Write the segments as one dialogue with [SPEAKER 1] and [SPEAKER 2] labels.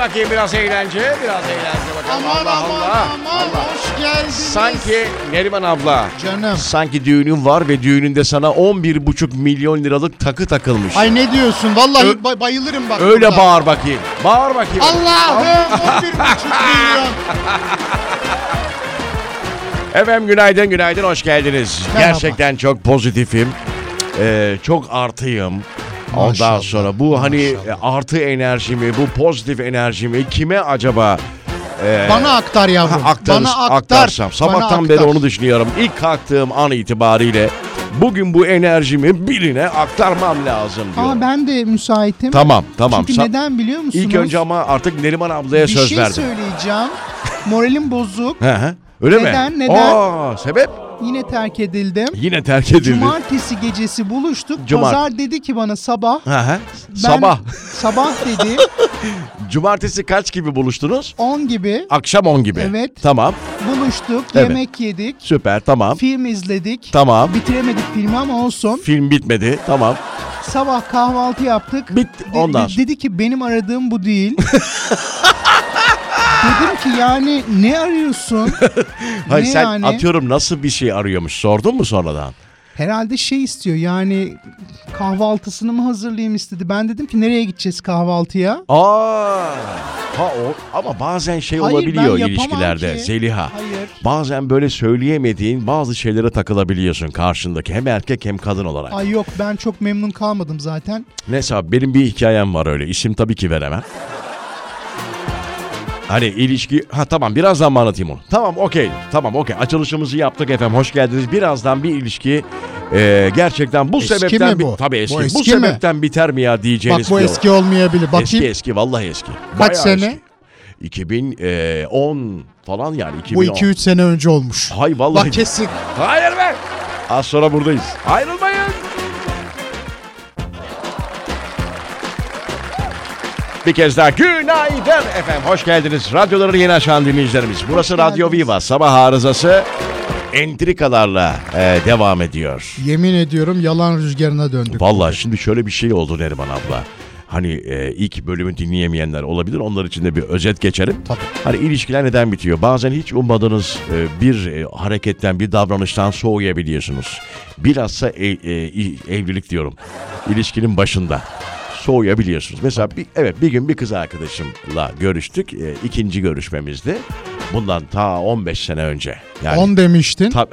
[SPEAKER 1] bakayım biraz eğlence, biraz eğlence bakalım.
[SPEAKER 2] Aman
[SPEAKER 1] Allah
[SPEAKER 2] aman
[SPEAKER 1] Allah.
[SPEAKER 2] aman hoş geldiniz.
[SPEAKER 1] Sanki Neriman abla,
[SPEAKER 2] Canım.
[SPEAKER 1] sanki düğünün var ve düğününde sana 11,5 milyon liralık takı takılmış.
[SPEAKER 2] Ay ne diyorsun? Vallahi
[SPEAKER 1] Ö-
[SPEAKER 2] bay- bayılırım bak.
[SPEAKER 1] Öyle
[SPEAKER 2] burada.
[SPEAKER 1] bağır bakayım. Bağır bakayım.
[SPEAKER 2] Allah'ım 11,5 milyon.
[SPEAKER 1] Efendim günaydın, günaydın, hoş geldiniz.
[SPEAKER 2] Merhaba.
[SPEAKER 1] Gerçekten çok pozitifim. Ee, çok artıyım. Ondan
[SPEAKER 2] Maşallah,
[SPEAKER 1] sonra bu hani artı enerjimi, bu pozitif enerjimi kime acaba
[SPEAKER 2] Bana aktar yavrum.
[SPEAKER 1] aktarız,
[SPEAKER 2] Bana aktar.
[SPEAKER 1] aktarsam?
[SPEAKER 2] Bana
[SPEAKER 1] Sabahtan
[SPEAKER 2] aktar.
[SPEAKER 1] beri onu düşünüyorum. İlk kalktığım an itibariyle bugün bu enerjimi birine aktarmam lazım diyorum.
[SPEAKER 3] Ama ben de müsaitim.
[SPEAKER 1] Tamam, tamam.
[SPEAKER 3] Çünkü
[SPEAKER 1] Sa-
[SPEAKER 3] neden biliyor musunuz?
[SPEAKER 1] İlk önce ama artık Neriman ablaya
[SPEAKER 3] bir
[SPEAKER 1] söz
[SPEAKER 3] şey
[SPEAKER 1] verdim.
[SPEAKER 3] söyleyeceğim. Moralim bozuk.
[SPEAKER 1] Hı hı. Öyle mi?
[SPEAKER 3] Neden, neden?
[SPEAKER 1] Aa, sebep?
[SPEAKER 3] Yine terk edildim.
[SPEAKER 1] Yine terk edildi.
[SPEAKER 3] Cumartesi gecesi buluştuk.
[SPEAKER 1] Cumart-
[SPEAKER 3] Pazar dedi ki bana sabah.
[SPEAKER 1] Hı hı.
[SPEAKER 3] Ben-
[SPEAKER 1] Sabah.
[SPEAKER 3] Sabah dedi.
[SPEAKER 1] Cumartesi kaç gibi buluştunuz?
[SPEAKER 3] 10 gibi
[SPEAKER 1] Akşam 10 gibi.
[SPEAKER 3] Evet.
[SPEAKER 1] Tamam.
[SPEAKER 3] buluştuk.
[SPEAKER 1] Evet.
[SPEAKER 3] Yemek yedik.
[SPEAKER 1] Süper. Tamam.
[SPEAKER 3] Film izledik.
[SPEAKER 1] Tamam.
[SPEAKER 3] Bitiremedik filmi ama olsun.
[SPEAKER 1] Film bitmedi. Tamam.
[SPEAKER 3] Sabah kahvaltı yaptık.
[SPEAKER 1] Bitti, ondan sonra.
[SPEAKER 3] dedi ki benim aradığım bu değil. Dedim ki yani ne arıyorsun?
[SPEAKER 1] Hayır
[SPEAKER 3] Ne
[SPEAKER 1] sen
[SPEAKER 3] yani?
[SPEAKER 1] atıyorum nasıl bir şey arıyormuş. Sordun mu sonradan?
[SPEAKER 3] Herhalde şey istiyor yani kahvaltısını mı hazırlayayım istedi. Ben dedim ki nereye gideceğiz kahvaltıya?
[SPEAKER 1] Aa. Ha o ama bazen şey
[SPEAKER 3] Hayır, ben
[SPEAKER 1] olabiliyor
[SPEAKER 3] yapamam
[SPEAKER 1] ilişkilerde
[SPEAKER 3] ki.
[SPEAKER 1] Zeliha.
[SPEAKER 3] Hayır.
[SPEAKER 1] Bazen böyle söyleyemediğin bazı şeylere takılabiliyorsun karşındaki hem erkek hem kadın olarak.
[SPEAKER 3] Ay yok ben çok memnun kalmadım zaten.
[SPEAKER 1] Neyse abi benim bir hikayem var öyle. İsim tabii ki veremem. Hani ilişki... Ha tamam birazdan mı anlatayım onu? Tamam okey. Tamam okey. Açılışımızı yaptık efendim. Hoş geldiniz. Birazdan bir ilişki e, gerçekten bu
[SPEAKER 2] Eski
[SPEAKER 1] sebepten...
[SPEAKER 2] mi
[SPEAKER 1] bi-
[SPEAKER 2] bu?
[SPEAKER 1] Tabii eski.
[SPEAKER 2] Bu
[SPEAKER 1] Bu,
[SPEAKER 2] eski mi?
[SPEAKER 1] sebepten biter mi ya diyeceğiniz
[SPEAKER 2] Bak bu
[SPEAKER 1] bir olay.
[SPEAKER 2] eski olmayabilir. Bakayım.
[SPEAKER 1] Eski eski vallahi eski.
[SPEAKER 2] Kaç sene?
[SPEAKER 1] eski. 2010 falan yani. 2010.
[SPEAKER 2] Bu 2-3 sene önce olmuş.
[SPEAKER 1] Hay vallahi.
[SPEAKER 2] Bak kesin.
[SPEAKER 1] Hayır be. Az sonra buradayız. Ayrılmayın. Bir kez daha günaydın efendim. Hoş geldiniz. Radyoları yeni açan dinleyicilerimiz. Burası Radyo
[SPEAKER 3] geldiniz.
[SPEAKER 1] Viva. Sabah arızası entrikalarla e, devam ediyor.
[SPEAKER 2] Yemin ediyorum yalan rüzgarına döndük.
[SPEAKER 1] Vallahi şimdi şöyle bir şey oldu Neriman abla. Hani e, ilk bölümü dinleyemeyenler olabilir. Onlar için de bir özet geçelim.
[SPEAKER 2] Tabii.
[SPEAKER 1] Hani ilişkiler neden bitiyor? Bazen hiç ummadığınız e, bir e, hareketten, bir davranıştan soğuyabiliyorsunuz. Bilhassa e- e- i- evlilik diyorum. İlişkinin başında soğuyabiliyorsunuz. Mesela bir, evet bir gün bir kız arkadaşımla görüştük. E, ikinci görüşmemizdi. Bundan ta 15 sene önce. Yani
[SPEAKER 2] 10 demiştin.
[SPEAKER 1] Tabii.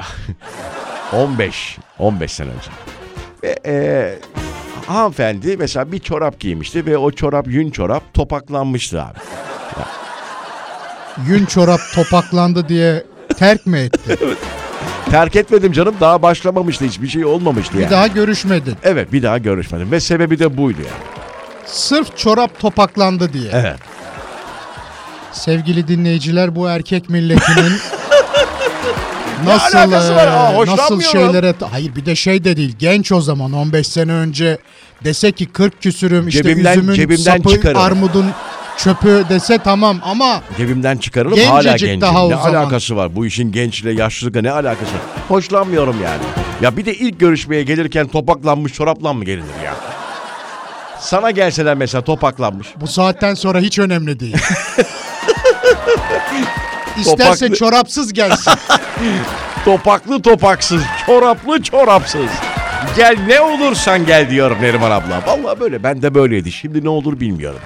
[SPEAKER 1] 15. 15 sene önce. Ve eee, hanımefendi mesela bir çorap giymişti ve o çorap yün çorap topaklanmıştı abi.
[SPEAKER 2] Yün çorap topaklandı diye terk mi etti?
[SPEAKER 1] Terk etmedim canım daha başlamamıştı hiçbir şey olmamıştı yani.
[SPEAKER 2] Bir daha görüşmedin.
[SPEAKER 1] Evet bir daha görüşmedim ve sebebi de buydu yani.
[SPEAKER 2] Sırf çorap topaklandı diye.
[SPEAKER 1] Evet.
[SPEAKER 2] Sevgili dinleyiciler bu erkek milletinin nasıl
[SPEAKER 1] alakası var? Aa,
[SPEAKER 2] e,
[SPEAKER 1] hoşlanmıyorum.
[SPEAKER 2] nasıl şeylere hayır bir de şey de değil genç o zaman 15 sene önce dese ki 40 küsürüm işte
[SPEAKER 1] Cebimden-
[SPEAKER 2] üzümün
[SPEAKER 1] cebimden
[SPEAKER 2] sapı
[SPEAKER 1] çıkarım.
[SPEAKER 2] armudun çöpü dese tamam ama
[SPEAKER 1] Cebimden çıkarılıp
[SPEAKER 2] Gencecik
[SPEAKER 1] hala gencim.
[SPEAKER 2] daha o
[SPEAKER 1] ne
[SPEAKER 2] zaman.
[SPEAKER 1] alakası var? Bu işin gençle yaşlılıkla ne alakası var? Hoşlanmıyorum yani. Ya bir de ilk görüşmeye gelirken topaklanmış çorapla mı gelinir ya? Sana gelseler mesela topaklanmış.
[SPEAKER 2] bu saatten sonra hiç önemli değil. İsterse
[SPEAKER 1] Topaklı-
[SPEAKER 2] çorapsız gelsin.
[SPEAKER 1] Topaklı topaksız, çoraplı çorapsız. Gel ne olursan gel diyorum Neriman abla. Vallahi böyle ben de böyleydi. Şimdi ne olur bilmiyorum.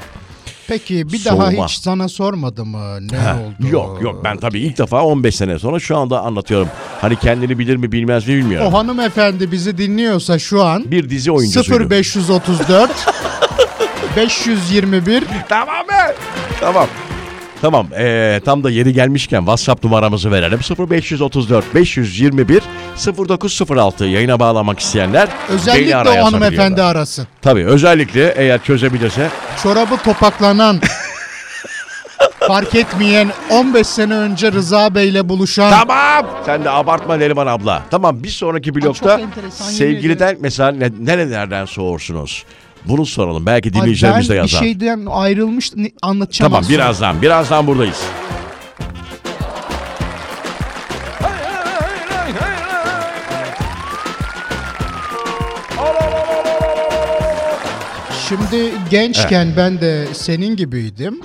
[SPEAKER 2] Peki bir
[SPEAKER 1] Soğuma.
[SPEAKER 2] daha hiç sana sormadı mı ne oldu?
[SPEAKER 1] Yok yok ben tabii ilk defa 15 sene sonra şu anda anlatıyorum. Hani kendini bilir mi bilmez mi bilmiyorum.
[SPEAKER 2] O hanımefendi bizi dinliyorsa şu an
[SPEAKER 1] Bir dizi oyuncusuydu.
[SPEAKER 2] 0534 521
[SPEAKER 1] Tamam be. Tamam. Tamam. ee, tam da yeri gelmişken WhatsApp numaramızı verelim. 0534 521 0906 yayına bağlamak isteyenler beni
[SPEAKER 2] özellikle
[SPEAKER 1] araya
[SPEAKER 2] o hanımefendi
[SPEAKER 1] yazabiliyorlar.
[SPEAKER 2] arasın.
[SPEAKER 1] Tabii özellikle eğer çözebilirse
[SPEAKER 2] Çorabı topaklanan fark etmeyen 15 sene önce Rıza Bey'le buluşan
[SPEAKER 1] Tamam. Sen de abartma Neriman abla. Tamam bir sonraki blokta
[SPEAKER 3] enteresan, yemin
[SPEAKER 1] sevgiliden mesela ne, nerelerden soğursunuz? Bunu soralım. Belki
[SPEAKER 3] Ay
[SPEAKER 1] dinleyicilerimiz de
[SPEAKER 3] ben bir
[SPEAKER 1] yazar.
[SPEAKER 2] şey
[SPEAKER 3] şeyden ayrılmış ne- anlatacağım
[SPEAKER 1] Tamam
[SPEAKER 3] az sonra.
[SPEAKER 1] birazdan. Birazdan buradayız.
[SPEAKER 2] Şimdi gençken ben de senin gibiydim.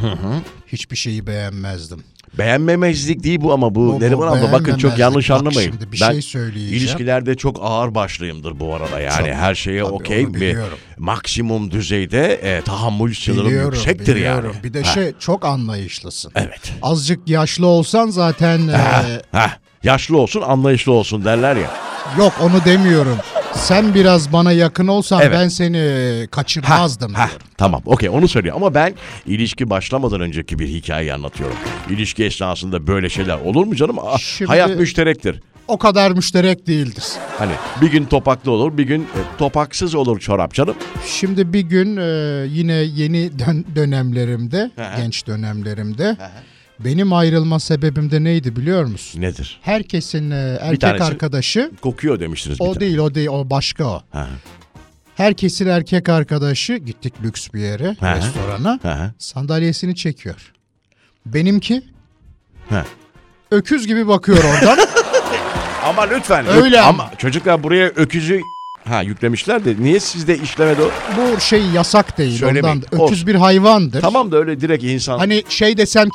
[SPEAKER 2] Hiçbir şeyi beğenmezdim.
[SPEAKER 1] Beğenmemezlik değil bu ama bu,
[SPEAKER 2] Bu- bu
[SPEAKER 1] Neriman abla bakın çok
[SPEAKER 2] beğenmemezlik.
[SPEAKER 1] yanlış
[SPEAKER 2] Bak
[SPEAKER 1] anlamayın.
[SPEAKER 2] şimdi bir
[SPEAKER 1] ben
[SPEAKER 2] şey söyleyeceğim.
[SPEAKER 1] ilişkilerde çok ağır başlıyımdır bu arada yani
[SPEAKER 2] Tabii,
[SPEAKER 1] her şeye
[SPEAKER 2] tabii,
[SPEAKER 1] okey
[SPEAKER 2] onu
[SPEAKER 1] bir
[SPEAKER 2] biliyorum.
[SPEAKER 1] maksimum düzeyde e, tahammül sınırım
[SPEAKER 2] Biliyorum,
[SPEAKER 1] yüksektir
[SPEAKER 2] biliyorum.
[SPEAKER 1] yani.
[SPEAKER 2] Bir de
[SPEAKER 1] Ha,
[SPEAKER 2] şey çok anlayışlısın.
[SPEAKER 1] Evet.
[SPEAKER 2] Azıcık yaşlı olsan zaten e,
[SPEAKER 1] Heh, yaşlı olsun anlayışlı olsun derler ya.
[SPEAKER 2] yok onu demiyorum. Sen biraz bana yakın olsan
[SPEAKER 1] Evet.
[SPEAKER 2] ben seni kaçırmazdım
[SPEAKER 1] Heh,
[SPEAKER 2] diyorum.
[SPEAKER 1] tamam okey onu söylüyor ama ben ilişki başlamadan önceki bir hikayeyi anlatıyorum. İlişki esnasında böyle şeyler olur mu canım? Ah,
[SPEAKER 2] Şimdi-
[SPEAKER 1] Hayat müşterektir.
[SPEAKER 2] O kadar müşterek değildir.
[SPEAKER 1] Hani bir gün topaklı olur bir gün e, topaksız olur çorap canım.
[SPEAKER 2] Şimdi bir gün e, yine yeni dön- dönemlerimde,
[SPEAKER 1] hı.
[SPEAKER 2] genç dönemlerimde benim ayrılma sebebim de neydi biliyor musun?
[SPEAKER 1] Nedir?
[SPEAKER 2] Herkesin e, erkek
[SPEAKER 1] tanesi-
[SPEAKER 2] arkadaşı
[SPEAKER 1] Kokuyor demiştiniz bir
[SPEAKER 2] o
[SPEAKER 1] tane.
[SPEAKER 2] değil o değil o başka o.
[SPEAKER 1] Ha,
[SPEAKER 2] Herkesin erkek arkadaşı gittik lüks bir yere,
[SPEAKER 1] hı.
[SPEAKER 2] restorana.
[SPEAKER 1] ha,
[SPEAKER 2] sandalyesini çekiyor. Benimki
[SPEAKER 1] ha.
[SPEAKER 2] öküz gibi bakıyor oradan.
[SPEAKER 1] Ama lütfen.
[SPEAKER 2] Öyle
[SPEAKER 1] ama.
[SPEAKER 2] ama.
[SPEAKER 1] çocuklar buraya öküzü ha yüklemişler de niye sizde işlemedi o?
[SPEAKER 2] Bu şey yasak değil
[SPEAKER 1] Söylemeyin.
[SPEAKER 2] ondan. da. Öküz bir hayvandır.
[SPEAKER 1] Tamam da öyle direkt insan.
[SPEAKER 2] Hani şey desem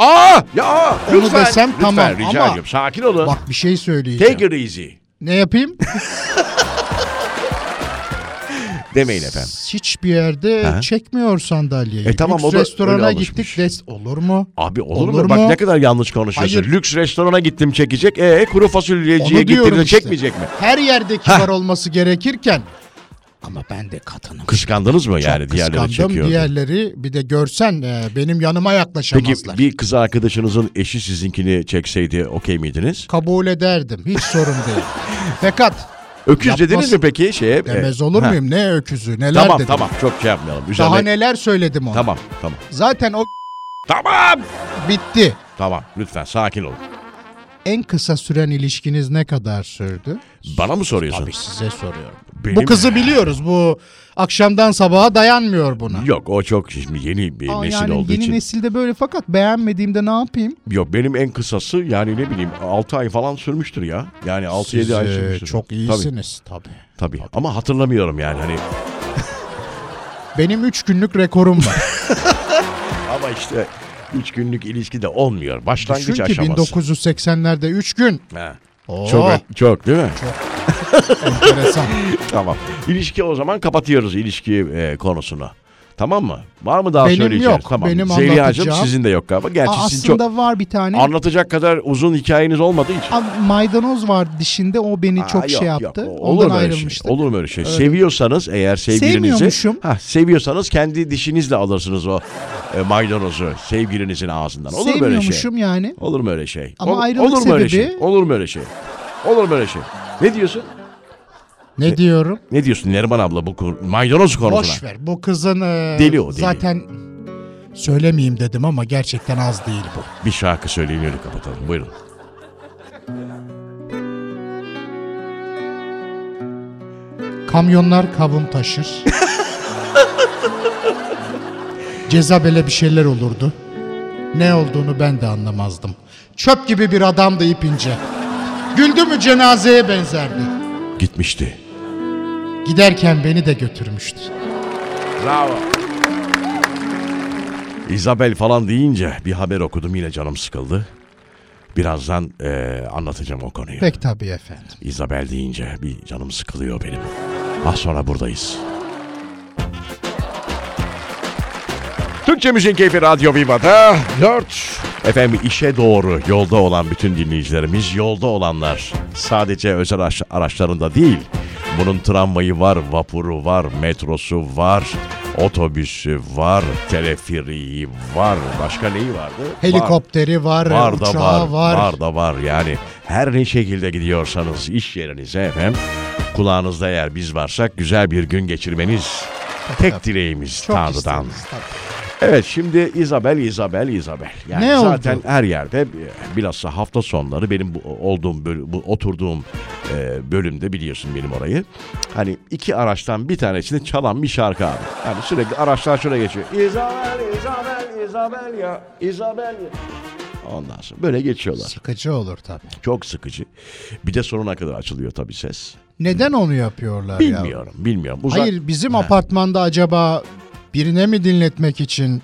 [SPEAKER 1] Aa ya aa,
[SPEAKER 2] Onu
[SPEAKER 1] lütfen,
[SPEAKER 2] desem
[SPEAKER 1] lütfen,
[SPEAKER 2] tamam
[SPEAKER 1] rica
[SPEAKER 2] ama-
[SPEAKER 1] ediyorum. Sakin olun.
[SPEAKER 2] bak bir şey söyleyeceğim.
[SPEAKER 1] Take it easy.
[SPEAKER 2] Ne yapayım?
[SPEAKER 1] Demeyin efendim.
[SPEAKER 2] Hiçbir yerde
[SPEAKER 1] Aha.
[SPEAKER 2] çekmiyor sandalyeyi.
[SPEAKER 1] E tamam,
[SPEAKER 2] Lüks
[SPEAKER 1] o da öyle
[SPEAKER 2] restorana
[SPEAKER 1] alışmış.
[SPEAKER 2] gittik. Des olur mu?
[SPEAKER 1] Abi olur,
[SPEAKER 2] Olur
[SPEAKER 1] mu? Bak
[SPEAKER 2] mu?
[SPEAKER 1] ne kadar yanlış konuşuyorsun.
[SPEAKER 2] Hayır.
[SPEAKER 1] Lüks restorana gittim çekecek. E kuru fasulyeciye
[SPEAKER 2] Onu diyorum
[SPEAKER 1] gittiğinde
[SPEAKER 2] işte.
[SPEAKER 1] çekmeyecek mi?
[SPEAKER 2] Her yerde kibar olması gerekirken ama ben de kadınım.
[SPEAKER 1] Kıskandınız mı yani
[SPEAKER 2] Çok
[SPEAKER 1] Hani diğerleri
[SPEAKER 2] kıskandım.
[SPEAKER 1] çekiyor.
[SPEAKER 2] Diğerleri bir de görsen e, benim yanıma
[SPEAKER 1] Peki
[SPEAKER 2] yaklaşamazlar.
[SPEAKER 1] bir kız arkadaşınızın eşi sizinkini çekseydi okey miydiniz?
[SPEAKER 2] Kabul ederdim. Hiç sorun değil. Fakat
[SPEAKER 1] Öküz
[SPEAKER 2] Yapmaz-
[SPEAKER 1] dediniz mi peki şeye?
[SPEAKER 2] Demez
[SPEAKER 1] e,
[SPEAKER 2] olur
[SPEAKER 1] ha.
[SPEAKER 2] muyum? Ne öküzü neler
[SPEAKER 1] Tamam
[SPEAKER 2] dedim.
[SPEAKER 1] tamam çok şey yapmayalım. Üzerine...
[SPEAKER 2] Daha neler söyledim ona.
[SPEAKER 1] Tamam tamam.
[SPEAKER 2] Zaten o
[SPEAKER 1] Tamam.
[SPEAKER 2] bitti.
[SPEAKER 1] Tamam lütfen sakin olun.
[SPEAKER 2] En kısa süren ilişkiniz ne kadar sürdü?
[SPEAKER 1] Bana mı soruyorsun?
[SPEAKER 2] Abi size soruyorum.
[SPEAKER 1] Benim-
[SPEAKER 2] Bu kızı biliyoruz. Bu akşamdan sabaha dayanmıyor buna.
[SPEAKER 1] Yok o çok şimdi yeni bir
[SPEAKER 3] Aa,
[SPEAKER 1] nesil
[SPEAKER 3] yani
[SPEAKER 1] olduğu
[SPEAKER 3] yeni
[SPEAKER 1] için.
[SPEAKER 3] nesilde böyle fakat beğenmediğimde ne yapayım?
[SPEAKER 1] Yok benim en kısası yani ne bileyim 6 ay falan sürmüştür ya. Yani 6-7 ay
[SPEAKER 2] Siz, e,
[SPEAKER 1] sürmüştür.
[SPEAKER 2] çok iyisiniz tabii.
[SPEAKER 1] Tabii, tabii. ama hatırlamıyorum yani hani.
[SPEAKER 2] Benim 3 günlük rekorum var.
[SPEAKER 1] Ama işte 3 günlük ilişki de olmuyor. Başlangıç
[SPEAKER 2] Düşün ki
[SPEAKER 1] aşaması.
[SPEAKER 2] 1980'lerde 3 gün.
[SPEAKER 1] Ha.
[SPEAKER 2] Oo, çok
[SPEAKER 1] Çok, çok değil mi?
[SPEAKER 2] enteresan.
[SPEAKER 1] Tamam. İlişki o zaman kapatıyoruz ilişki e, konusunu. Tamam mı? Var mı daha
[SPEAKER 2] Benim
[SPEAKER 1] söyleyeceğiz?
[SPEAKER 2] yok.
[SPEAKER 1] Tamam.
[SPEAKER 2] Benim
[SPEAKER 1] Zeliha'cığım
[SPEAKER 2] anlatacağım.
[SPEAKER 1] sizin de yok galiba. Gerçi
[SPEAKER 3] Aa,
[SPEAKER 1] sizin çok
[SPEAKER 3] aslında var bir tane.
[SPEAKER 1] anlatacak kadar uzun hikayeniz olmadığı için.
[SPEAKER 3] Aa, maydanoz var dişinde o beni
[SPEAKER 1] Aa,
[SPEAKER 3] çok
[SPEAKER 1] yok,
[SPEAKER 3] şey
[SPEAKER 1] yok.
[SPEAKER 3] yaptı.
[SPEAKER 1] O- Olur
[SPEAKER 3] Ondan
[SPEAKER 1] mu öyle
[SPEAKER 3] ayrılmıştık.
[SPEAKER 1] şey? Olur mu öyle şey? Seviyorsanız eğer sevgilinizi
[SPEAKER 3] Sevmiyormuşum.
[SPEAKER 1] ha, seviyorsanız kendi dişinizle alırsınız o e, maydanozu sevgilinizin ağzından. Olur mu öyle şey?
[SPEAKER 3] Sevmiyormuşum yani.
[SPEAKER 1] Olur mu öyle şey?
[SPEAKER 3] Ama
[SPEAKER 1] Ol-
[SPEAKER 3] ayrılık
[SPEAKER 1] olur mu öyle
[SPEAKER 3] sebebi-
[SPEAKER 1] şey? Olur mu öyle şey? Olur mu öyle şey? Ne diyorsun?
[SPEAKER 2] ne diyorum?
[SPEAKER 1] Ne diyorsun Neriman abla bu konu- maydanoz konusuna?
[SPEAKER 2] Şey, Boş ver. Bu kızın e,
[SPEAKER 1] Deli o, deli.
[SPEAKER 2] zaten söylemeyeyim dedim ama gerçekten az değil bu.
[SPEAKER 1] Bir şarkı söyleyin öyle kapatalım. Buyurun.
[SPEAKER 2] Kamyonlar kavun taşır. Ceza böyle bir şeyler olurdu. Ne olduğunu ben de anlamazdım. Çöp gibi bir adamdı ipince. Güldü mü cenazeye benzerdi.
[SPEAKER 1] Gitmişti.
[SPEAKER 2] Giderken beni de götürmüştü.
[SPEAKER 1] Bravo. İzabel falan deyince bir haber okudum yine canım sıkıldı. Birazdan eee, anlatacağım o konuyu.
[SPEAKER 2] Pek tabii efendim.
[SPEAKER 1] İzabel deyince bir canım sıkılıyor benim. Az sonra buradayız. Türkçe Müziğin Keyfi Radyo Viva'da 4. Efendim işe doğru yolda olan bütün dinleyicilerimiz, yolda olanlar sadece özel araç- araçlarında değil. Bunun tramvayı var, vapuru var, metrosu var, otobüsü var, teleferiği var. Başka neyi vardı? Var.
[SPEAKER 2] Helikopteri var,
[SPEAKER 1] Var da
[SPEAKER 2] uçağı
[SPEAKER 1] var, var. da var yani. Her ne şekilde gidiyorsanız iş yerinize efendim. Kulağınızda eğer biz varsak güzel bir gün geçirmeniz tek dileğimiz
[SPEAKER 2] Çok
[SPEAKER 1] Tanrı'dan.
[SPEAKER 2] isteriz tabii.
[SPEAKER 1] Evet şimdi İzabel, İzabel, İzabel. Yani
[SPEAKER 2] Ne oldu?
[SPEAKER 1] zaten her yerde e, bilhassa hafta sonları benim bu olduğum böl- bu oturduğum e, bölümde biliyorsun benim orayı. Hani iki araçtan bir tanesini çalan bir şarkı abi. Hani sürekli araçlar şöyle geçiyor. İzabel, İzabel, İzabel ya, İzabel ya. Ondan sonra böyle geçiyorlar.
[SPEAKER 2] Sıkıcı olur tabii.
[SPEAKER 1] Çok sıkıcı. Bir de sonuna kadar açılıyor tabii ses.
[SPEAKER 3] Neden onu yapıyorlar ya?
[SPEAKER 1] Bilmiyorum, bilmiyorum. Uzak...
[SPEAKER 2] Hayır bizim
[SPEAKER 1] Ha.
[SPEAKER 2] apartmanda acaba birine mi dinletmek için?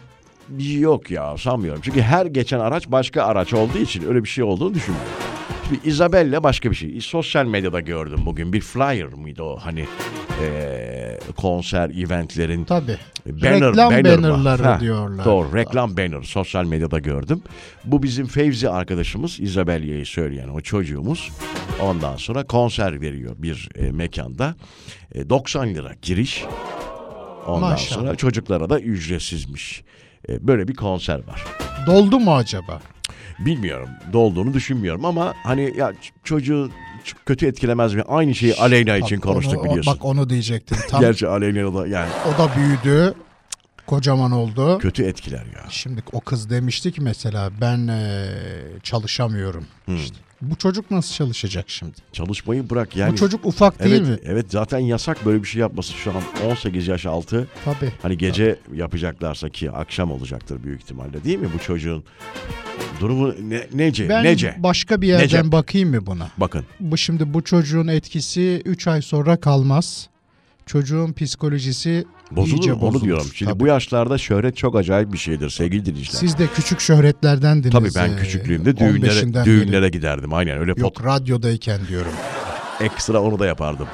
[SPEAKER 1] Yok ya sanmıyorum. Çünkü her geçen araç başka araç olduğu için öyle bir şey olduğunu düşünmüyorum. Şimdi Isabella başka bir şey. Sosyal medyada gördüm bugün. Bir flyer mıydı o hani eee, konser eventlerin
[SPEAKER 2] Tabii.
[SPEAKER 1] banner,
[SPEAKER 2] Reklam
[SPEAKER 1] banner var.
[SPEAKER 2] bannerları
[SPEAKER 1] Ha,
[SPEAKER 2] diyorlar.
[SPEAKER 1] Doğru reklam banner sosyal medyada gördüm. Bu bizim Fevzi arkadaşımız Isabella'yı söyleyen o çocuğumuz. Ondan sonra konser veriyor bir e, mekanda. E, 90 lira giriş. Ondan
[SPEAKER 2] Maşallah.
[SPEAKER 1] sonra çocuklara da ücretsizmiş. E, böyle bir konser var.
[SPEAKER 2] Doldu mu acaba?
[SPEAKER 1] Bilmiyorum dolduğunu düşünmüyorum ama hani ya ç- çocuğu ç- kötü etkilemez mi? Aynı şeyi Aleyna
[SPEAKER 2] Bak,
[SPEAKER 1] için konuştuk
[SPEAKER 2] onu- o-
[SPEAKER 1] biliyorsun.
[SPEAKER 2] Bak onu diyecektim. Tam
[SPEAKER 1] Gerçi Aleyna da yani
[SPEAKER 2] o da büyüdü. Kocaman oldu.
[SPEAKER 1] kötü etkiler ya.
[SPEAKER 2] Şimdi o kız demişti ki mesela ben eee, çalışamıyorum.
[SPEAKER 1] Hmm.
[SPEAKER 2] İşte bu çocuk nasıl çalışacak şimdi?
[SPEAKER 1] Çalışmayı bırak yani.
[SPEAKER 2] bu çocuk ufak değil
[SPEAKER 1] evet,
[SPEAKER 2] mi?
[SPEAKER 1] Evet zaten yasak böyle bir şey yapması şu an 18 yaş altı.
[SPEAKER 2] Tabii.
[SPEAKER 1] Hani gece yapacaklarsa ki akşam olacaktır büyük ihtimalle değil mi bu çocuğun? Durumu ne, nece?
[SPEAKER 2] Ben
[SPEAKER 1] nece?
[SPEAKER 2] başka bir yerden
[SPEAKER 1] Nece?
[SPEAKER 2] bakayım mı buna?
[SPEAKER 1] Bakın
[SPEAKER 2] Bu şimdi bu çocuğun etkisi 3 ay sonra kalmaz. Çocuğun psikolojisi
[SPEAKER 1] bozulur
[SPEAKER 2] iyice
[SPEAKER 1] mu? onu
[SPEAKER 2] bozulur.
[SPEAKER 1] diyorum. Şimdi
[SPEAKER 2] Tabii.
[SPEAKER 1] bu yaşlarda şöhret çok acayip bir şeydir sevgili dinleyiciler.
[SPEAKER 2] Siz de küçük şöhretlerdendiniz.
[SPEAKER 1] Tabii ben
[SPEAKER 2] ee,
[SPEAKER 1] küçüklüğümde düğünlere
[SPEAKER 2] 15'inden
[SPEAKER 1] düğünlere
[SPEAKER 2] beri.
[SPEAKER 1] giderdim. Aynen öyle pot
[SPEAKER 2] Yok radyodayken diyorum.
[SPEAKER 1] ekstra onu da yapardım.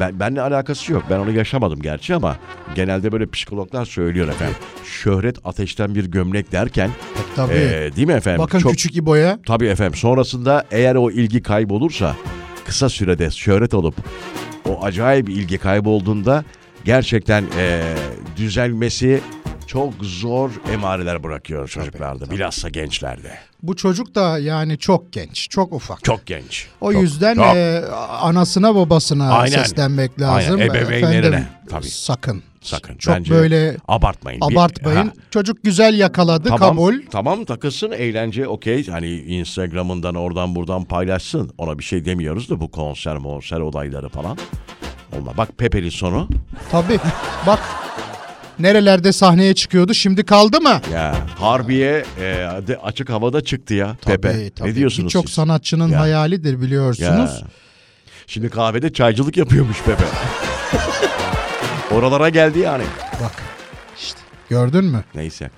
[SPEAKER 1] Ben, benle alakası yok. Ben onu yaşamadım gerçi ama genelde böyle psikologlar söylüyor efendim. Şöhret ateşten bir gömlek derken
[SPEAKER 2] Tabii.
[SPEAKER 1] eee, değil mi efendim?
[SPEAKER 2] Bakın
[SPEAKER 1] çok,
[SPEAKER 2] küçük İbo'ya
[SPEAKER 1] Tabii efendim. Sonrasında eğer o ilgi kaybolursa kısa sürede şöhret olup o acayip ilgi kaybolduğunda gerçekten eee, düzelmesi çok zor emareler bırakıyor çocuklarda. Bilhassa gençlerde.
[SPEAKER 2] bu çocuk da yani çok genç, çok ufak.
[SPEAKER 1] Çok genç.
[SPEAKER 2] O
[SPEAKER 1] Çok-
[SPEAKER 2] yüzden
[SPEAKER 1] çok.
[SPEAKER 2] e, anasına babasına
[SPEAKER 1] Aynen.
[SPEAKER 2] seslenmek
[SPEAKER 1] Aynen,
[SPEAKER 2] lazım.
[SPEAKER 1] ebeveynlerine.
[SPEAKER 2] Efendim,
[SPEAKER 1] Tabii.
[SPEAKER 2] Sakın.
[SPEAKER 1] Sakın.
[SPEAKER 2] Çok
[SPEAKER 1] Bence
[SPEAKER 2] böyle
[SPEAKER 1] abartmayın. Bir-
[SPEAKER 2] abartmayın.
[SPEAKER 1] Ha,
[SPEAKER 2] Çocuk güzel yakaladı, kabul.
[SPEAKER 1] Tamam takılsın eğlence okey. Hani Instagram'ından oradan buradan paylaşsın. Ona bir şey demiyoruz da bu konser monser olayları falan. Olma. Bak Pepe'li sonu.
[SPEAKER 2] Tabii. Bak nerelerde sahneye çıkıyordu şimdi kaldı mı?
[SPEAKER 1] Ya Harbiye e, de- açık havada çıktı ya Pepe.
[SPEAKER 2] Tabii, tabii.
[SPEAKER 1] Ne diyorsunuz
[SPEAKER 2] Birçok
[SPEAKER 1] siz?
[SPEAKER 2] sanatçının
[SPEAKER 1] Ya.
[SPEAKER 2] hayalidir
[SPEAKER 1] Ya.
[SPEAKER 2] biliyorsunuz.
[SPEAKER 1] Şimdi kahvede çaycılık yapıyormuş Pepe. Oralara geldi yani.
[SPEAKER 2] Bak işte gördün mü?
[SPEAKER 1] Neyse.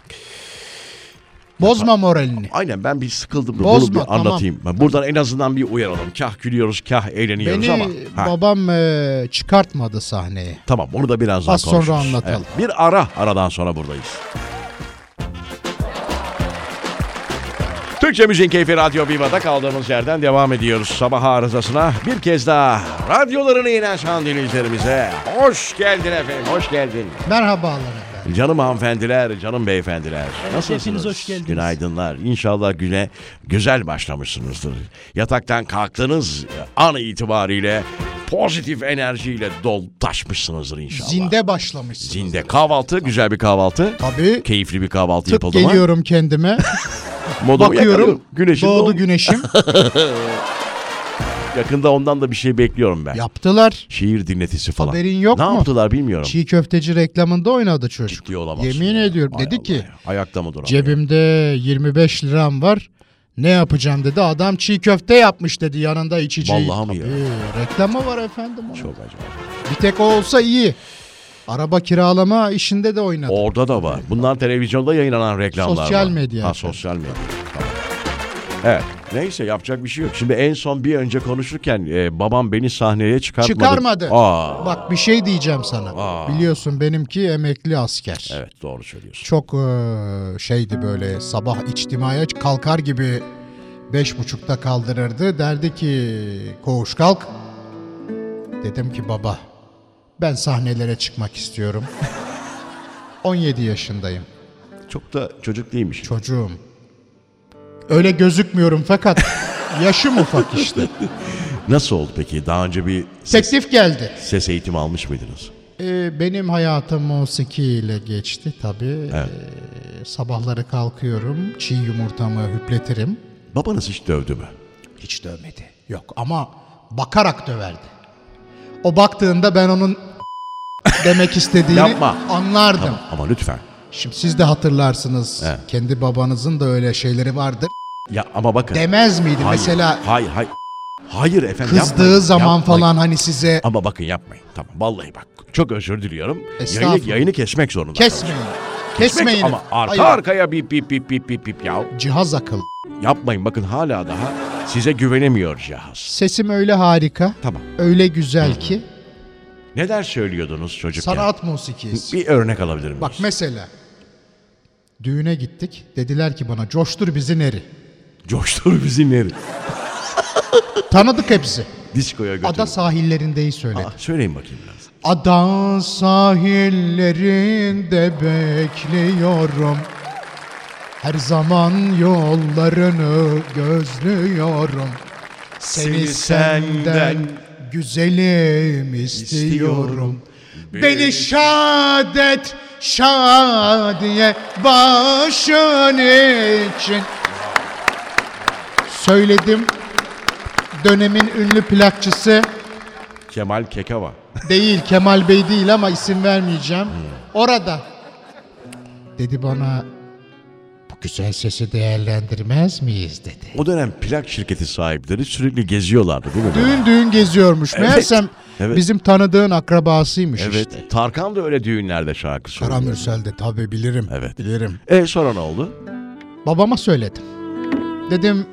[SPEAKER 2] Bozma moralini.
[SPEAKER 1] Aynen ben bir sıkıldım. da Bunu
[SPEAKER 2] Bozma,
[SPEAKER 1] bir anlatayım. Buradan en azından bir uyaralım. Kah gülüyoruz, kah eğleniyoruz
[SPEAKER 2] Beni
[SPEAKER 1] ama. Ha,
[SPEAKER 2] babam e, çıkartmadı sahneye.
[SPEAKER 1] tamam onu da birazdan
[SPEAKER 2] Az sonra
[SPEAKER 1] konuşuruz.
[SPEAKER 2] anlatalım.
[SPEAKER 1] Evet, bir ara. Aradan sonra buradayız. Türkçe Müziğin Keyfi Radyo Viva'da kaldığımız yerden devam ediyoruz. Sabah arızasına bir kez daha radyolarını yeni açan dinleyicilerimize hoş geldin efendim, hoş geldin.
[SPEAKER 2] Merhabalar efendim.
[SPEAKER 1] Canım hanımefendiler, canım beyefendiler. Nasılsınız?
[SPEAKER 4] hepiniz hoş geldiniz.
[SPEAKER 1] Günaydınlar. İnşallah güne güzel başlamışsınızdır. Yataktan kalktığınız an itibariyle pozitif enerjiyle dol taşmışsınızdır inşallah.
[SPEAKER 2] Zinde başlamışsınız.
[SPEAKER 1] Zinde. Kahvaltı, güzel bir kahvaltı.
[SPEAKER 2] Tabii.
[SPEAKER 1] Keyifli bir kahvaltı
[SPEAKER 2] Tıp
[SPEAKER 1] yapıldı mı?
[SPEAKER 2] geliyorum kendime.
[SPEAKER 1] Modumu
[SPEAKER 2] Bakıyorum.
[SPEAKER 1] yakalıyorum. Güneşin
[SPEAKER 2] doğdu
[SPEAKER 1] doğ-
[SPEAKER 2] güneşim.
[SPEAKER 1] Yakında ondan da bir şey bekliyorum ben.
[SPEAKER 2] Yaptılar.
[SPEAKER 1] Şiir dinletisi falan.
[SPEAKER 2] Haberin yok
[SPEAKER 1] ne
[SPEAKER 2] mu?
[SPEAKER 1] yaptılar bilmiyorum.
[SPEAKER 2] Çiğ köfteci reklamında oynadı çocuk.
[SPEAKER 1] Ciddi olamazsın
[SPEAKER 2] Yemin
[SPEAKER 1] ya.
[SPEAKER 2] ediyorum.
[SPEAKER 1] Hay
[SPEAKER 2] dedi
[SPEAKER 1] Allah
[SPEAKER 2] ki
[SPEAKER 1] ya. Ayakta mı duramıyor?
[SPEAKER 2] cebimde 25 liram var. Ne yapacağım dedi. Adam çiğ köfte yapmış dedi yanında içeceği.
[SPEAKER 1] Vallahi mi ya?
[SPEAKER 2] Tabii, Reklamı var efendim. onun.
[SPEAKER 1] Çok acayip.
[SPEAKER 2] Bir tek o olsa iyi. Araba kiralama işinde de oynadı.
[SPEAKER 1] Orada da var. Bunlar televizyonda yayınlanan reklamlar
[SPEAKER 2] Sosyal
[SPEAKER 1] var.
[SPEAKER 2] medya.
[SPEAKER 1] Ha sosyal medya. Tamam. Evet. Neyse yapacak bir şey yok. Şimdi en son bir önce konuşurken e, babam beni sahneye çıkartmadı.
[SPEAKER 2] Çıkarmadı.
[SPEAKER 1] Aa.
[SPEAKER 2] Bak bir şey diyeceğim sana.
[SPEAKER 1] Aa.
[SPEAKER 2] Biliyorsun benimki emekli asker.
[SPEAKER 1] Evet doğru söylüyorsun.
[SPEAKER 2] Çok eee, şeydi böyle sabah içtimaya kalkar gibi beş buçukta kaldırırdı. Derdi ki koğuş kalk. Dedim ki baba ben sahnelere çıkmak istiyorum. 17 yaşındayım
[SPEAKER 1] Çok da çocuk değilmiş.
[SPEAKER 2] çocuğum. Öyle gözükmüyorum fakat yaşım ufak işte.
[SPEAKER 1] Nasıl oldu peki? Daha önce bir
[SPEAKER 2] Teklif geldi.
[SPEAKER 1] ses eğitimi almış mıydınız?
[SPEAKER 2] Ee, benim hayatım musiki ile geçti tabii.
[SPEAKER 1] Evet.
[SPEAKER 2] Ee, sabahları kalkıyorum, çiğ yumurtamı hüpletirim.
[SPEAKER 1] Babanız hiç dövdü mü?
[SPEAKER 2] Hiç dövmedi. Yok ama bakarak döverdi. O baktığında ben onun demek istediğini
[SPEAKER 1] Yapma.
[SPEAKER 2] anlardım.
[SPEAKER 1] Tamam. Ama lütfen.
[SPEAKER 2] Şimdi siz de hatırlarsınız.
[SPEAKER 1] Evet.
[SPEAKER 2] Kendi babanızın da öyle şeyleri vardır.
[SPEAKER 1] Ya ama bakın.
[SPEAKER 2] Demez miydi
[SPEAKER 1] Hayır,
[SPEAKER 2] mesela
[SPEAKER 1] Hayır hayır. Hayır efendim
[SPEAKER 2] Kızdığı
[SPEAKER 1] yapmayın,
[SPEAKER 2] zaman
[SPEAKER 1] yapmayın.
[SPEAKER 2] falan hani size
[SPEAKER 1] Ama bakın yapmayın. Tamam vallahi bak çok özür diliyorum. Yayını,
[SPEAKER 2] Estağfurullah.
[SPEAKER 1] yayını kesmek zorunda.
[SPEAKER 2] kesmeyin. Kesmeyin.
[SPEAKER 1] Ama arka
[SPEAKER 2] Hayır.
[SPEAKER 1] arkaya bip bip bip bip bip bip ya.
[SPEAKER 2] Cihaz akıl.
[SPEAKER 1] Yapmayın bakın hala daha size güvenemiyor cihaz.
[SPEAKER 2] Sesim öyle harika,
[SPEAKER 1] Tamam.
[SPEAKER 2] öyle güzel ki
[SPEAKER 1] Neler söylüyordunuz çocukken?
[SPEAKER 2] sanat musikisi.
[SPEAKER 1] Bir örnek alabilir miyiz?
[SPEAKER 2] Bak mesela düğüne gittik. Dediler ki bana coştur bizi neri.
[SPEAKER 1] Coştur bizi neri?
[SPEAKER 2] Tanıdık hepsi.
[SPEAKER 1] Diskoya götürün.
[SPEAKER 2] Ada sahillerindeyi söyledi.
[SPEAKER 1] Aa, Söyleyin bakayım biraz.
[SPEAKER 2] Ada sahillerinde bekliyorum. Her zaman yollarını gözlüyorum. Seni
[SPEAKER 1] Seni
[SPEAKER 2] senden
[SPEAKER 1] senden
[SPEAKER 2] güzelim istiyorum.
[SPEAKER 1] istiyorum.
[SPEAKER 2] Beni şadet şadiye başın için. Söyledim. Dönemin ünlü plakçısı
[SPEAKER 1] Kemal Kekava.
[SPEAKER 2] Değil Kemal Bey değil ama isim vermeyeceğim. Orada. Dedi bana bu güzel sesi değerlendirmez miyiz dedi.
[SPEAKER 1] O dönem plak şirketi sahipleri sürekli geziyorlardı değil mi?
[SPEAKER 2] Düğün düğün geziyormuş. Meğersem
[SPEAKER 1] evet.
[SPEAKER 2] bizim tanıdığın akrabasıymış
[SPEAKER 1] Evet.
[SPEAKER 2] işte.
[SPEAKER 1] Tarkan da öyle düğünlerde şarkı söylüyor.
[SPEAKER 2] Karamürsel'de tabii bilirim.
[SPEAKER 1] Evet.
[SPEAKER 2] Bilirim.
[SPEAKER 1] E sonra ne oldu?
[SPEAKER 2] Babama söyledim. Dedim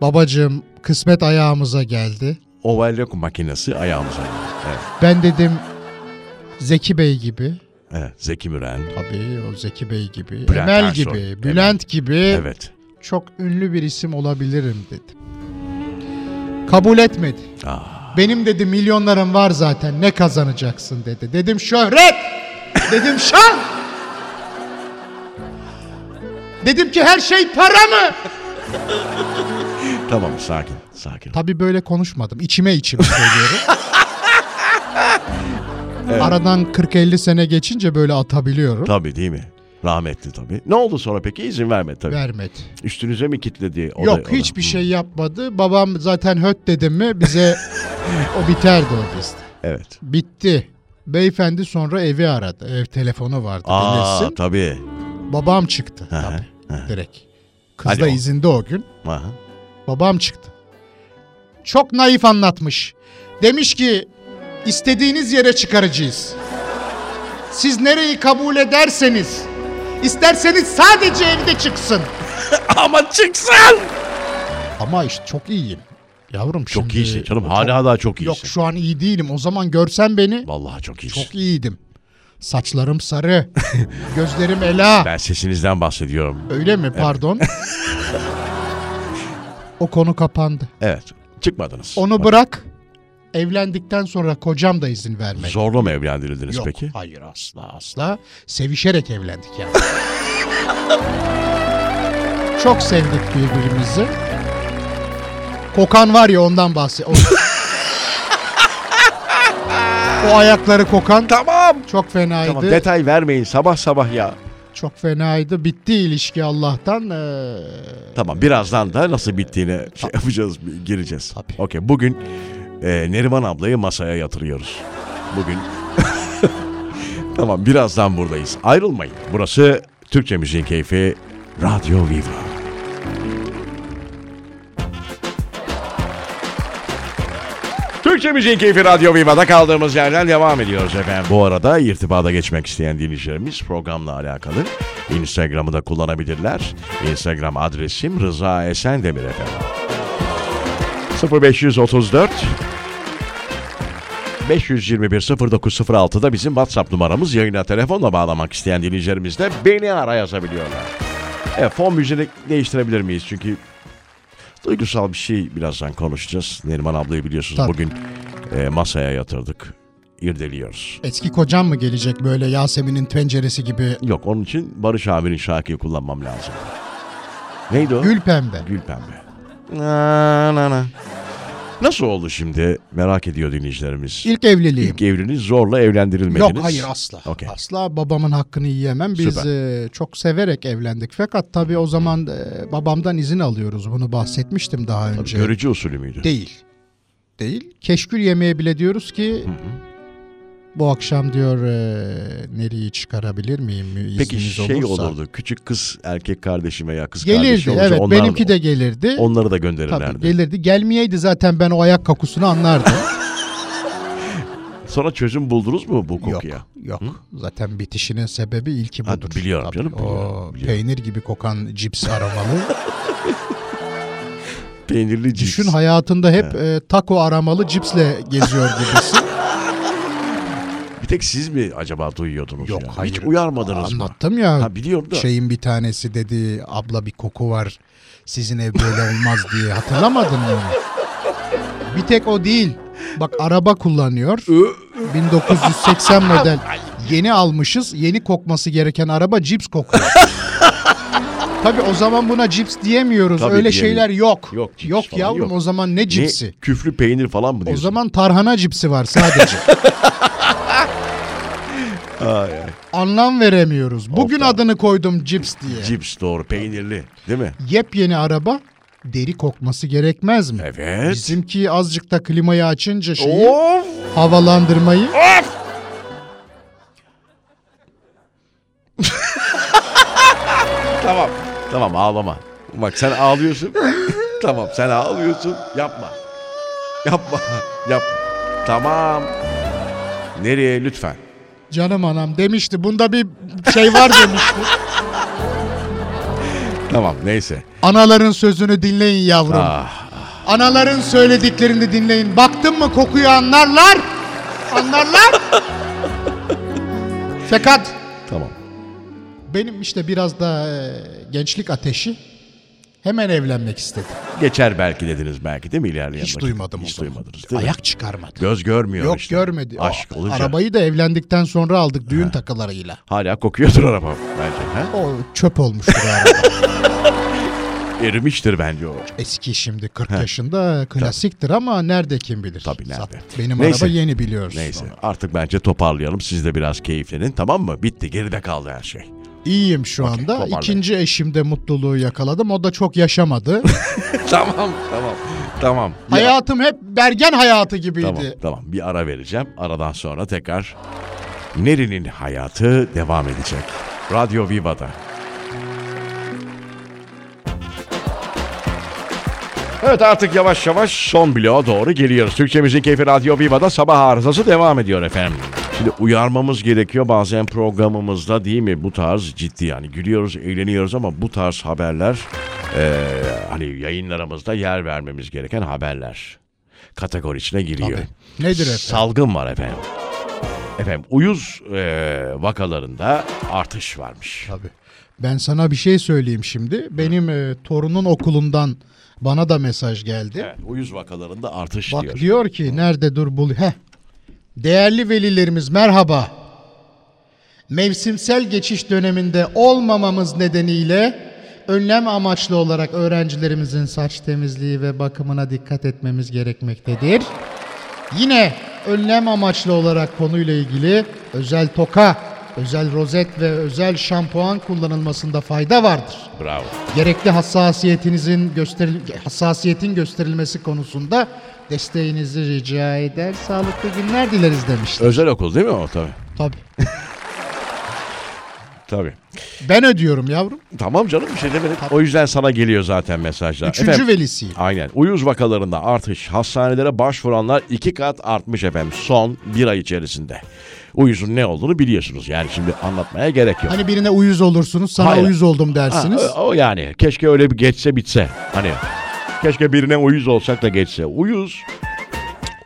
[SPEAKER 2] babacığım kısmet ayağımıza geldi.
[SPEAKER 1] Overlock makinesi ayağımıza. geldi. Evet.
[SPEAKER 2] Ben dedim Zeki Bey gibi
[SPEAKER 1] evet. Zeki Müren.
[SPEAKER 2] tabii o Zeki Bey gibi,
[SPEAKER 1] Bülent
[SPEAKER 2] Emel
[SPEAKER 1] Ersoy.
[SPEAKER 2] gibi, Bülent gibi
[SPEAKER 1] Evet.
[SPEAKER 2] çok ünlü bir isim olabilirim dedim. Kabul etmedi. Benim dedi milyonlarım var zaten ne kazanacaksın dedi. Dedim şöhret. dedim şan. Dedim ki her şey para mı?
[SPEAKER 1] Tamam sakin. Sakin.
[SPEAKER 2] Tabii böyle konuşmadım. İçime içime söylüyorum. Aradan 40-50 sene geçince böyle atabiliyorum.
[SPEAKER 1] Tabii değil mi? Rahmetli tabii. Ne oldu sonra peki? İzin vermedi tabii.
[SPEAKER 2] Vermedi.
[SPEAKER 1] Üstünüze mi kilitledi? O da-
[SPEAKER 2] Yok
[SPEAKER 1] o da-
[SPEAKER 2] hiçbir şey yapmadı. Babam zaten höt dedim mi bize o biterdi o bizde.
[SPEAKER 1] Evet.
[SPEAKER 2] Bitti. Beyefendi sonra evi aradı. Ev telefonu vardı
[SPEAKER 1] Aa
[SPEAKER 2] bilirsin.
[SPEAKER 1] tabii.
[SPEAKER 2] Babam çıktı
[SPEAKER 1] Hı hı,
[SPEAKER 2] tabii direkt. Kız
[SPEAKER 1] Hadi
[SPEAKER 2] da
[SPEAKER 1] o.
[SPEAKER 2] izinde o gün.
[SPEAKER 1] Aha.
[SPEAKER 2] Babam çıktı. Çok naif anlatmış. Demiş ki istediğiniz yere çıkaracağız. Siz nereyi kabul ederseniz isterseniz sadece evde çıksın.
[SPEAKER 1] Ama çıksın!
[SPEAKER 2] Ama işte çok iyiyim. Yavrum
[SPEAKER 1] Çok
[SPEAKER 2] şimdi-
[SPEAKER 1] iyisin canım. Hala daha çok iyisin.
[SPEAKER 2] Yok şu an iyi değilim. O zaman görsen beni
[SPEAKER 1] Vallahi çok iyisin.
[SPEAKER 2] Çok iyiydim. Saçlarım sarı. Gözlerim ela.
[SPEAKER 1] Ben sesinizden bahsediyorum.
[SPEAKER 2] Öyle mi? Pardon. o konu kapandı.
[SPEAKER 1] Evet. Çıkmadınız.
[SPEAKER 2] Onu
[SPEAKER 1] Bak,
[SPEAKER 2] bırak. Evlendikten sonra kocam da izin vermedi.
[SPEAKER 1] Zorla mı evlendirildiniz
[SPEAKER 2] Yok,
[SPEAKER 1] peki?
[SPEAKER 2] hayır asla asla. Sevişerek evlendik yani. Çok sevdik birbirimizi. Kokan var ya ondan bahsediyor. o ayakları kokan
[SPEAKER 1] Tamam.
[SPEAKER 2] çok fenaydı.
[SPEAKER 1] Tamam detay vermeyin sabah sabah ya.
[SPEAKER 2] Çok fenaydı. Bitti ilişki Allah'tan. Ee,
[SPEAKER 1] Tamam birazdan da nasıl bittiğini şey yapacağız bir gireceğiz.
[SPEAKER 2] Tabii.
[SPEAKER 1] Okey bugün e, Neriman ablayı masaya yatırıyoruz. Bugün. tamam birazdan buradayız. Ayrılmayın. Burası Türkçe Müziğin Keyfi Radyo Viva. Türkçe Müziğin Keyfi Radyo Viva'da kaldığımız yerden devam ediyoruz efendim. Bu arada irtibata geçmek isteyen dinleyicilerimiz programla alakalı Instagram'ı da kullanabilirler. Instagram adresim Rıza Esen Demir efendim. 0534 521 0906'da bizim WhatsApp numaramız yayına telefonla bağlamak isteyen dinleyicilerimiz de beni ara yazabiliyorlar. Evet fon müziğini değiştirebilir miyiz? Çünkü duygusal bir şey birazdan konuşacağız. Neriman ablayı biliyorsunuz
[SPEAKER 2] Tabii.
[SPEAKER 1] bugün e, masaya yatırdık. İrdeliyoruz.
[SPEAKER 2] eski kocam mı gelecek böyle Yasemin'in tenceresi gibi
[SPEAKER 1] Yok onun için Barış abinin şarkıyı kullanmam lazım. Neydi o?
[SPEAKER 2] gül pembe?
[SPEAKER 1] Gül pembe. Na, na, na. Nasıl oldu şimdi? Merak ediyor dinleyicilerimiz.
[SPEAKER 2] İlk evliliğim.
[SPEAKER 1] İlk evliliğiniz zorla evlendirilmediniz.
[SPEAKER 2] Yok hayır asla.
[SPEAKER 1] Okey.
[SPEAKER 2] Asla babamın hakkını yiyemem. Biz e, çok severek evlendik. Fakat tabii o zaman e, babamdan izin alıyoruz. Bunu bahsetmiştim daha önce.
[SPEAKER 1] Görücü usulü müydü?
[SPEAKER 2] Değil. Değil. Keşkül yemeğe bile diyoruz ki Bu akşam diyor e, nereyi çıkarabilir miyim?
[SPEAKER 1] Peki
[SPEAKER 2] İzniniz
[SPEAKER 1] şey
[SPEAKER 2] olursa.
[SPEAKER 1] olurdu. Küçük kız erkek kardeşime ya kız
[SPEAKER 2] Gelirdi
[SPEAKER 1] kardeşi olursa
[SPEAKER 2] evet
[SPEAKER 1] onlar-
[SPEAKER 2] benimki de gelirdi.
[SPEAKER 1] onları da
[SPEAKER 2] Tabii
[SPEAKER 1] gönderirlerdi.
[SPEAKER 2] gelirdi. Gelmeyeydi zaten ben o ayak kakusunu anlardım.
[SPEAKER 1] Sonra çözüm buldunuz mu bu kokuya?
[SPEAKER 2] Yok. Zaten bitişinin sebebi ilki
[SPEAKER 1] Ha,
[SPEAKER 2] budur.
[SPEAKER 1] biliyorum
[SPEAKER 2] Tabii,
[SPEAKER 1] canım,
[SPEAKER 2] o
[SPEAKER 1] biliyorum, biliyorum.
[SPEAKER 2] Peynir gibi kokan cips aromalı.
[SPEAKER 1] Peynirli cips.
[SPEAKER 2] Düşün hayatında hep e, taco aramalı cipsle geziyor gibisin.
[SPEAKER 1] bir tek siz mi acaba duyuyordunuz?
[SPEAKER 2] Yok,
[SPEAKER 1] yani? Hiç
[SPEAKER 2] hayır.
[SPEAKER 1] uyarmadınız mı?
[SPEAKER 2] Anlattım ya.
[SPEAKER 1] Ha biliyorum da.
[SPEAKER 2] Şeyin bir tanesi dedi abla bir koku var. Sizin ev böyle olmaz diye. Hatırlamadın mı? onu? Bir tek o değil. Bak araba kullanıyor. 1980 model. Yeni almışız. Yeni kokması gereken araba cips kokuyor. Tabii o zaman buna cips diyemiyoruz.
[SPEAKER 1] Tabii
[SPEAKER 2] Öyle
[SPEAKER 1] diyemiyoruz.
[SPEAKER 2] şeyler yok.
[SPEAKER 1] Yok, cips falan
[SPEAKER 2] yavrum
[SPEAKER 1] yok.
[SPEAKER 2] o zaman ne cipsi?
[SPEAKER 1] Ne, küflü peynir falan mı
[SPEAKER 2] O
[SPEAKER 1] diyorsun?
[SPEAKER 2] zaman tarhana cipsi var sadece. Anlam veremiyoruz. Bugün adını koydum cips diye.
[SPEAKER 1] Cips doğru peynirli değil mi?
[SPEAKER 2] Yepyeni araba deri kokması gerekmez mi?
[SPEAKER 1] Evet.
[SPEAKER 2] Bizimki azıcık da klimayı açınca şeyi
[SPEAKER 1] Of!
[SPEAKER 2] havalandırmayı.
[SPEAKER 1] Tamam. Tamam ağlama. Bak sen ağlıyorsun. tamam sen ağlıyorsun. Yapma. Yapma. Yapma. Tamam. Nereye lütfen?
[SPEAKER 2] Canım anam demişti. Bunda bir şey var demişti.
[SPEAKER 1] Tamam neyse.
[SPEAKER 2] Anaların sözünü dinleyin yavrum.
[SPEAKER 1] Ah,
[SPEAKER 2] Anaların söylediklerini dinleyin. Baktın mı kokuyu anlarlar. Anlarlar. Fakat
[SPEAKER 1] tamam.
[SPEAKER 2] Benim işte biraz da e, gençlik ateşi hemen evlenmek istedim.
[SPEAKER 1] Geçer belki dediniz belki değil mi ilerleyen
[SPEAKER 2] Hiç
[SPEAKER 1] vakit?
[SPEAKER 2] duymadım
[SPEAKER 1] Hiç
[SPEAKER 2] o zaman.
[SPEAKER 1] duymadınız değil mi?
[SPEAKER 2] Ayak çıkarmadı.
[SPEAKER 1] Göz görmüyor
[SPEAKER 2] Yok
[SPEAKER 1] işte.
[SPEAKER 2] görmedi. O
[SPEAKER 1] Aşk olunca
[SPEAKER 2] Arabayı da evlendikten sonra aldık düğün takılarıyla.
[SPEAKER 1] hala kokuyordur araba bence. Ha?
[SPEAKER 2] O çöp olmuştur o araba.
[SPEAKER 1] Erimiştir bence o.
[SPEAKER 2] Eski şimdi 40 yaşında klasiktir ama nerede kim bilir.
[SPEAKER 1] Tabii, nerede?
[SPEAKER 2] Sat- Benim
[SPEAKER 1] Neyse.
[SPEAKER 2] araba yeni biliyorsun.
[SPEAKER 1] Neyse artık bence toparlayalım. Siz de biraz keyiflenin tamam mı? Bitti geride kaldı her şey.
[SPEAKER 2] İyiyim şu anda.
[SPEAKER 1] toparlayın.
[SPEAKER 2] İkinci eşimde mutluluğu yakaladım. O da çok yaşamadı.
[SPEAKER 1] tamam tamam tamam.
[SPEAKER 2] Hayatım hep bergen hayatı gibiydi.
[SPEAKER 1] Tamam tamam bir ara vereceğim. Aradan sonra tekrar Neri'nin hayatı devam edecek. Radyo Viva'da. Evet artık yavaş yavaş son bloğa doğru geliyoruz. Türkçemizin keyfi Radyo Viva'da sabah arızası devam ediyor efendim. Şimdi uyarmamız gerekiyor bazen programımızda değil mi bu tarz ciddi yani gülüyoruz eğleniyoruz ama bu tarz haberler eee, hani yayınlarımızda yer vermemiz gereken haberler kategorisine giriyor.
[SPEAKER 2] Tabii. Nedir efendim?
[SPEAKER 1] Salgın var efendim. Efendim uyuz eee, vakalarında artış varmış.
[SPEAKER 2] Tabii. Ben sana bir şey söyleyeyim şimdi. Benim e, torunun okulundan bana da mesaj geldi.
[SPEAKER 1] Evet, uyuz vakalarında artış
[SPEAKER 2] Bak
[SPEAKER 1] diyor.
[SPEAKER 2] diyor, ki nerede dur bul. Heh. Değerli velilerimiz merhaba. Mevsimsel geçiş döneminde olmamamız nedeniyle önlem amaçlı olarak öğrencilerimizin saç temizliği ve bakımına dikkat etmemiz gerekmektedir. Yine önlem amaçlı olarak konuyla ilgili özel toka, özel rozet ve özel şampuan kullanılmasında fayda vardır
[SPEAKER 1] Bravo.
[SPEAKER 2] gerekli hassasiyetinizin gösteril hassasiyetin gösterilmesi konusunda desteğinizi rica eder. Sağlıklı günler dileriz demişti.
[SPEAKER 1] Özel okul değil mi o tabii.
[SPEAKER 2] Tabii.
[SPEAKER 1] Tabii.
[SPEAKER 2] Ben ödüyorum yavrum.
[SPEAKER 1] Tamam canım bir şey demedim. O yüzden sana geliyor zaten mesajlar.
[SPEAKER 2] Üçüncü
[SPEAKER 1] Efendim,
[SPEAKER 2] velisiyim.
[SPEAKER 1] Aynen. Uyuz vakalarında artış. Hastanelere başvuranlar iki kat artmış efendim son bir ay içerisinde. Uyuzun ne olduğunu biliyorsunuz. Yani şimdi anlatmaya gerek yok.
[SPEAKER 2] Hani birine uyuz olursunuz, sana
[SPEAKER 1] Hayır.
[SPEAKER 2] uyuz oldum
[SPEAKER 1] Ha,
[SPEAKER 2] dersiniz.
[SPEAKER 1] o, o yani. Keşke öyle bir geçse bitse. Hani keşke birine uyuz olsak da geçse. Uyuz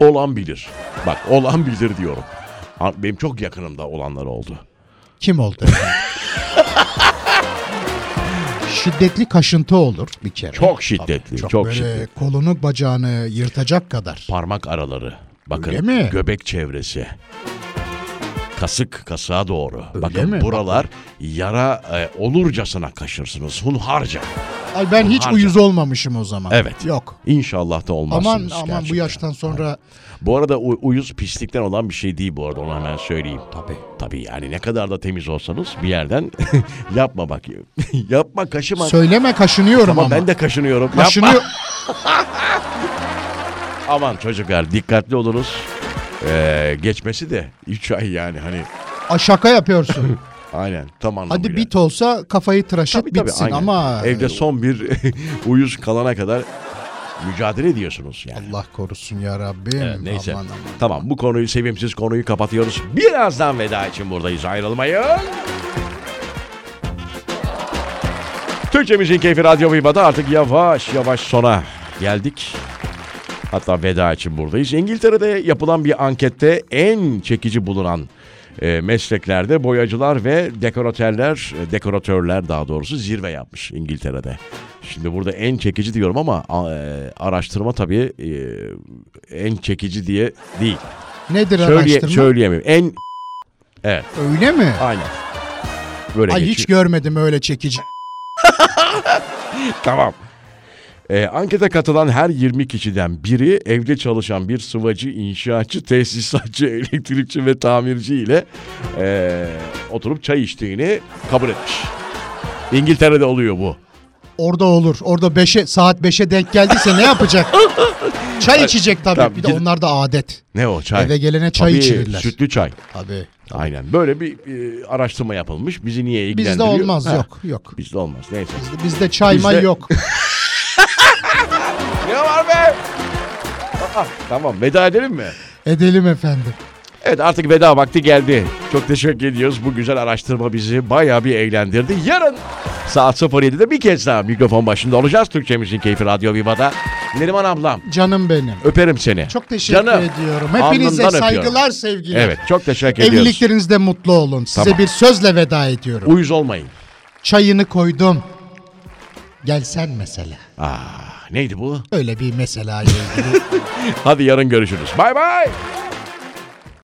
[SPEAKER 1] olan bilir. Bak olan bilir diyorum. Ha, Benim çok yakınımda olanlar oldu.
[SPEAKER 2] Kim oldu? efendim? Şiddetli kaşıntı olur bir kere.
[SPEAKER 1] Çok şiddetli. çok
[SPEAKER 2] böyle
[SPEAKER 1] şiddetli.
[SPEAKER 2] kolunu bacağını yırtacak kadar.
[SPEAKER 1] parmak araları. Bakın
[SPEAKER 2] Öyle mi?
[SPEAKER 1] göbek çevresi. Kasık kasığa doğru. Bakın
[SPEAKER 2] mi?
[SPEAKER 1] buralar yara e, olurcasına kaşırsınız hunharca.
[SPEAKER 2] Ay ben hiç
[SPEAKER 1] Harca.
[SPEAKER 2] uyuz olmamışım o zaman.
[SPEAKER 1] Evet.
[SPEAKER 2] Yok.
[SPEAKER 1] İnşallah da olmazsınız.
[SPEAKER 2] Aman aman bu
[SPEAKER 1] gerçekten.
[SPEAKER 2] yaştan sonra
[SPEAKER 1] Bu arada u- uyuz pislikten olan bir şey değil bu arada onu hemen söyleyeyim.
[SPEAKER 2] Tabii.
[SPEAKER 1] Tabii yani ne kadar da temiz olsanız bir yerden yapma bak. yapma kaşıma.
[SPEAKER 2] söyleme kaşınıyorum
[SPEAKER 1] Ama
[SPEAKER 2] ama.
[SPEAKER 1] ben de kaşınıyorum. Yapma.
[SPEAKER 2] Kaşınıyor.
[SPEAKER 1] Aman çocuklar dikkatli olunuz. Ee, geçmesi de 3 ay yani hani
[SPEAKER 2] A, şaka yapıyorsun.
[SPEAKER 1] aynen tam anlamıyla.
[SPEAKER 2] Hadi bit olsa kafayı tıraşıp
[SPEAKER 1] Tabii, tabii,
[SPEAKER 2] bitsin
[SPEAKER 1] aynen.
[SPEAKER 2] ama
[SPEAKER 1] Evde son bir uyuz kalana kadar mücadele ediyorsunuz yani.
[SPEAKER 2] Allah korusun ya Rabbim.
[SPEAKER 1] Evet, neyse.
[SPEAKER 2] Aman, aman.
[SPEAKER 1] Tamam bu konuyu sevimsiz konuyu kapatıyoruz. Birazdan veda için buradayız. Ayrılmayın. Türkçemizin keyfi Radyo Viva'da artık yavaş yavaş sona geldik. Hatta veda için buradayız. İngiltere'de yapılan bir ankette en çekici bulunan e, mesleklerde boyacılar ve dekoratörler, e, dekoratörler daha doğrusu zirve yapmış İngiltere'de. Şimdi burada en çekici diyorum ama a- e, araştırma tabii e, en çekici diye değil.
[SPEAKER 2] Nedir
[SPEAKER 1] Söyleye,
[SPEAKER 2] araştırma?
[SPEAKER 1] söyleyemiyorum. En Evet,
[SPEAKER 2] Öyle mi?
[SPEAKER 1] aynen. Böyle
[SPEAKER 2] Ay
[SPEAKER 1] geçiyor.
[SPEAKER 2] hiç görmedim öyle çekici.
[SPEAKER 1] Tamam. Ee, ankete katılan her 20 kişiden biri evde çalışan bir sıvacı, inşaatçı, tesisatçı, elektrikçi ve tamirci ile ee, oturup çay içtiğini kabul etmiş. İngiltere'de oluyor bu.
[SPEAKER 2] Orada olur. Orada beşe, saat 5'e denk geldiyse ne yapacak? Çay içecek tabii.
[SPEAKER 1] Tabii,
[SPEAKER 2] bir de
[SPEAKER 1] gidip-
[SPEAKER 2] onlar da adet.
[SPEAKER 1] Ne o çay?
[SPEAKER 2] Eve gelene çay
[SPEAKER 1] Tabii,
[SPEAKER 2] içirirler.
[SPEAKER 1] Sütlü çay.
[SPEAKER 2] Tabii.
[SPEAKER 1] Aynen. Böyle bir e, araştırma yapılmış. Bizi niye ilgilendiriyor?
[SPEAKER 2] Bizde olmaz
[SPEAKER 1] Ha,
[SPEAKER 2] yok yok.
[SPEAKER 1] Bizde olmaz. Neyse.
[SPEAKER 2] Bizde çay may
[SPEAKER 1] Bizde-
[SPEAKER 2] yok.
[SPEAKER 1] Ne var be? Aa, tamam veda edelim mi?
[SPEAKER 2] Edelim efendim.
[SPEAKER 1] Evet artık veda vakti geldi. Çok teşekkür ediyoruz. Bu güzel araştırma bizi bayağı bir eğlendirdi. Yarın saat 07'de bir kez daha mikrofon başında olacağız. Türkçemizin keyfi Radyo Viva'da. Neriman ablam
[SPEAKER 2] Canım benim.
[SPEAKER 1] öperim seni.
[SPEAKER 2] Çok teşekkür
[SPEAKER 1] Canım,
[SPEAKER 2] ediyorum. Hepinize
[SPEAKER 1] alnından
[SPEAKER 2] saygılar,
[SPEAKER 1] öpüyorum.
[SPEAKER 2] sevgiler.
[SPEAKER 1] Evet çok teşekkür ediyoruz.
[SPEAKER 2] Evliliklerinizde mutlu olun. Size
[SPEAKER 1] Tamam.
[SPEAKER 2] bir sözle veda ediyorum.
[SPEAKER 1] Uyuz olmayın.
[SPEAKER 2] Çayını koydum. Gelsen mesela.
[SPEAKER 1] Aa, Ah, neydi bu?
[SPEAKER 2] Öyle bir mesela ile ilgili.
[SPEAKER 1] Hadi yarın görüşürüz. Bay bay.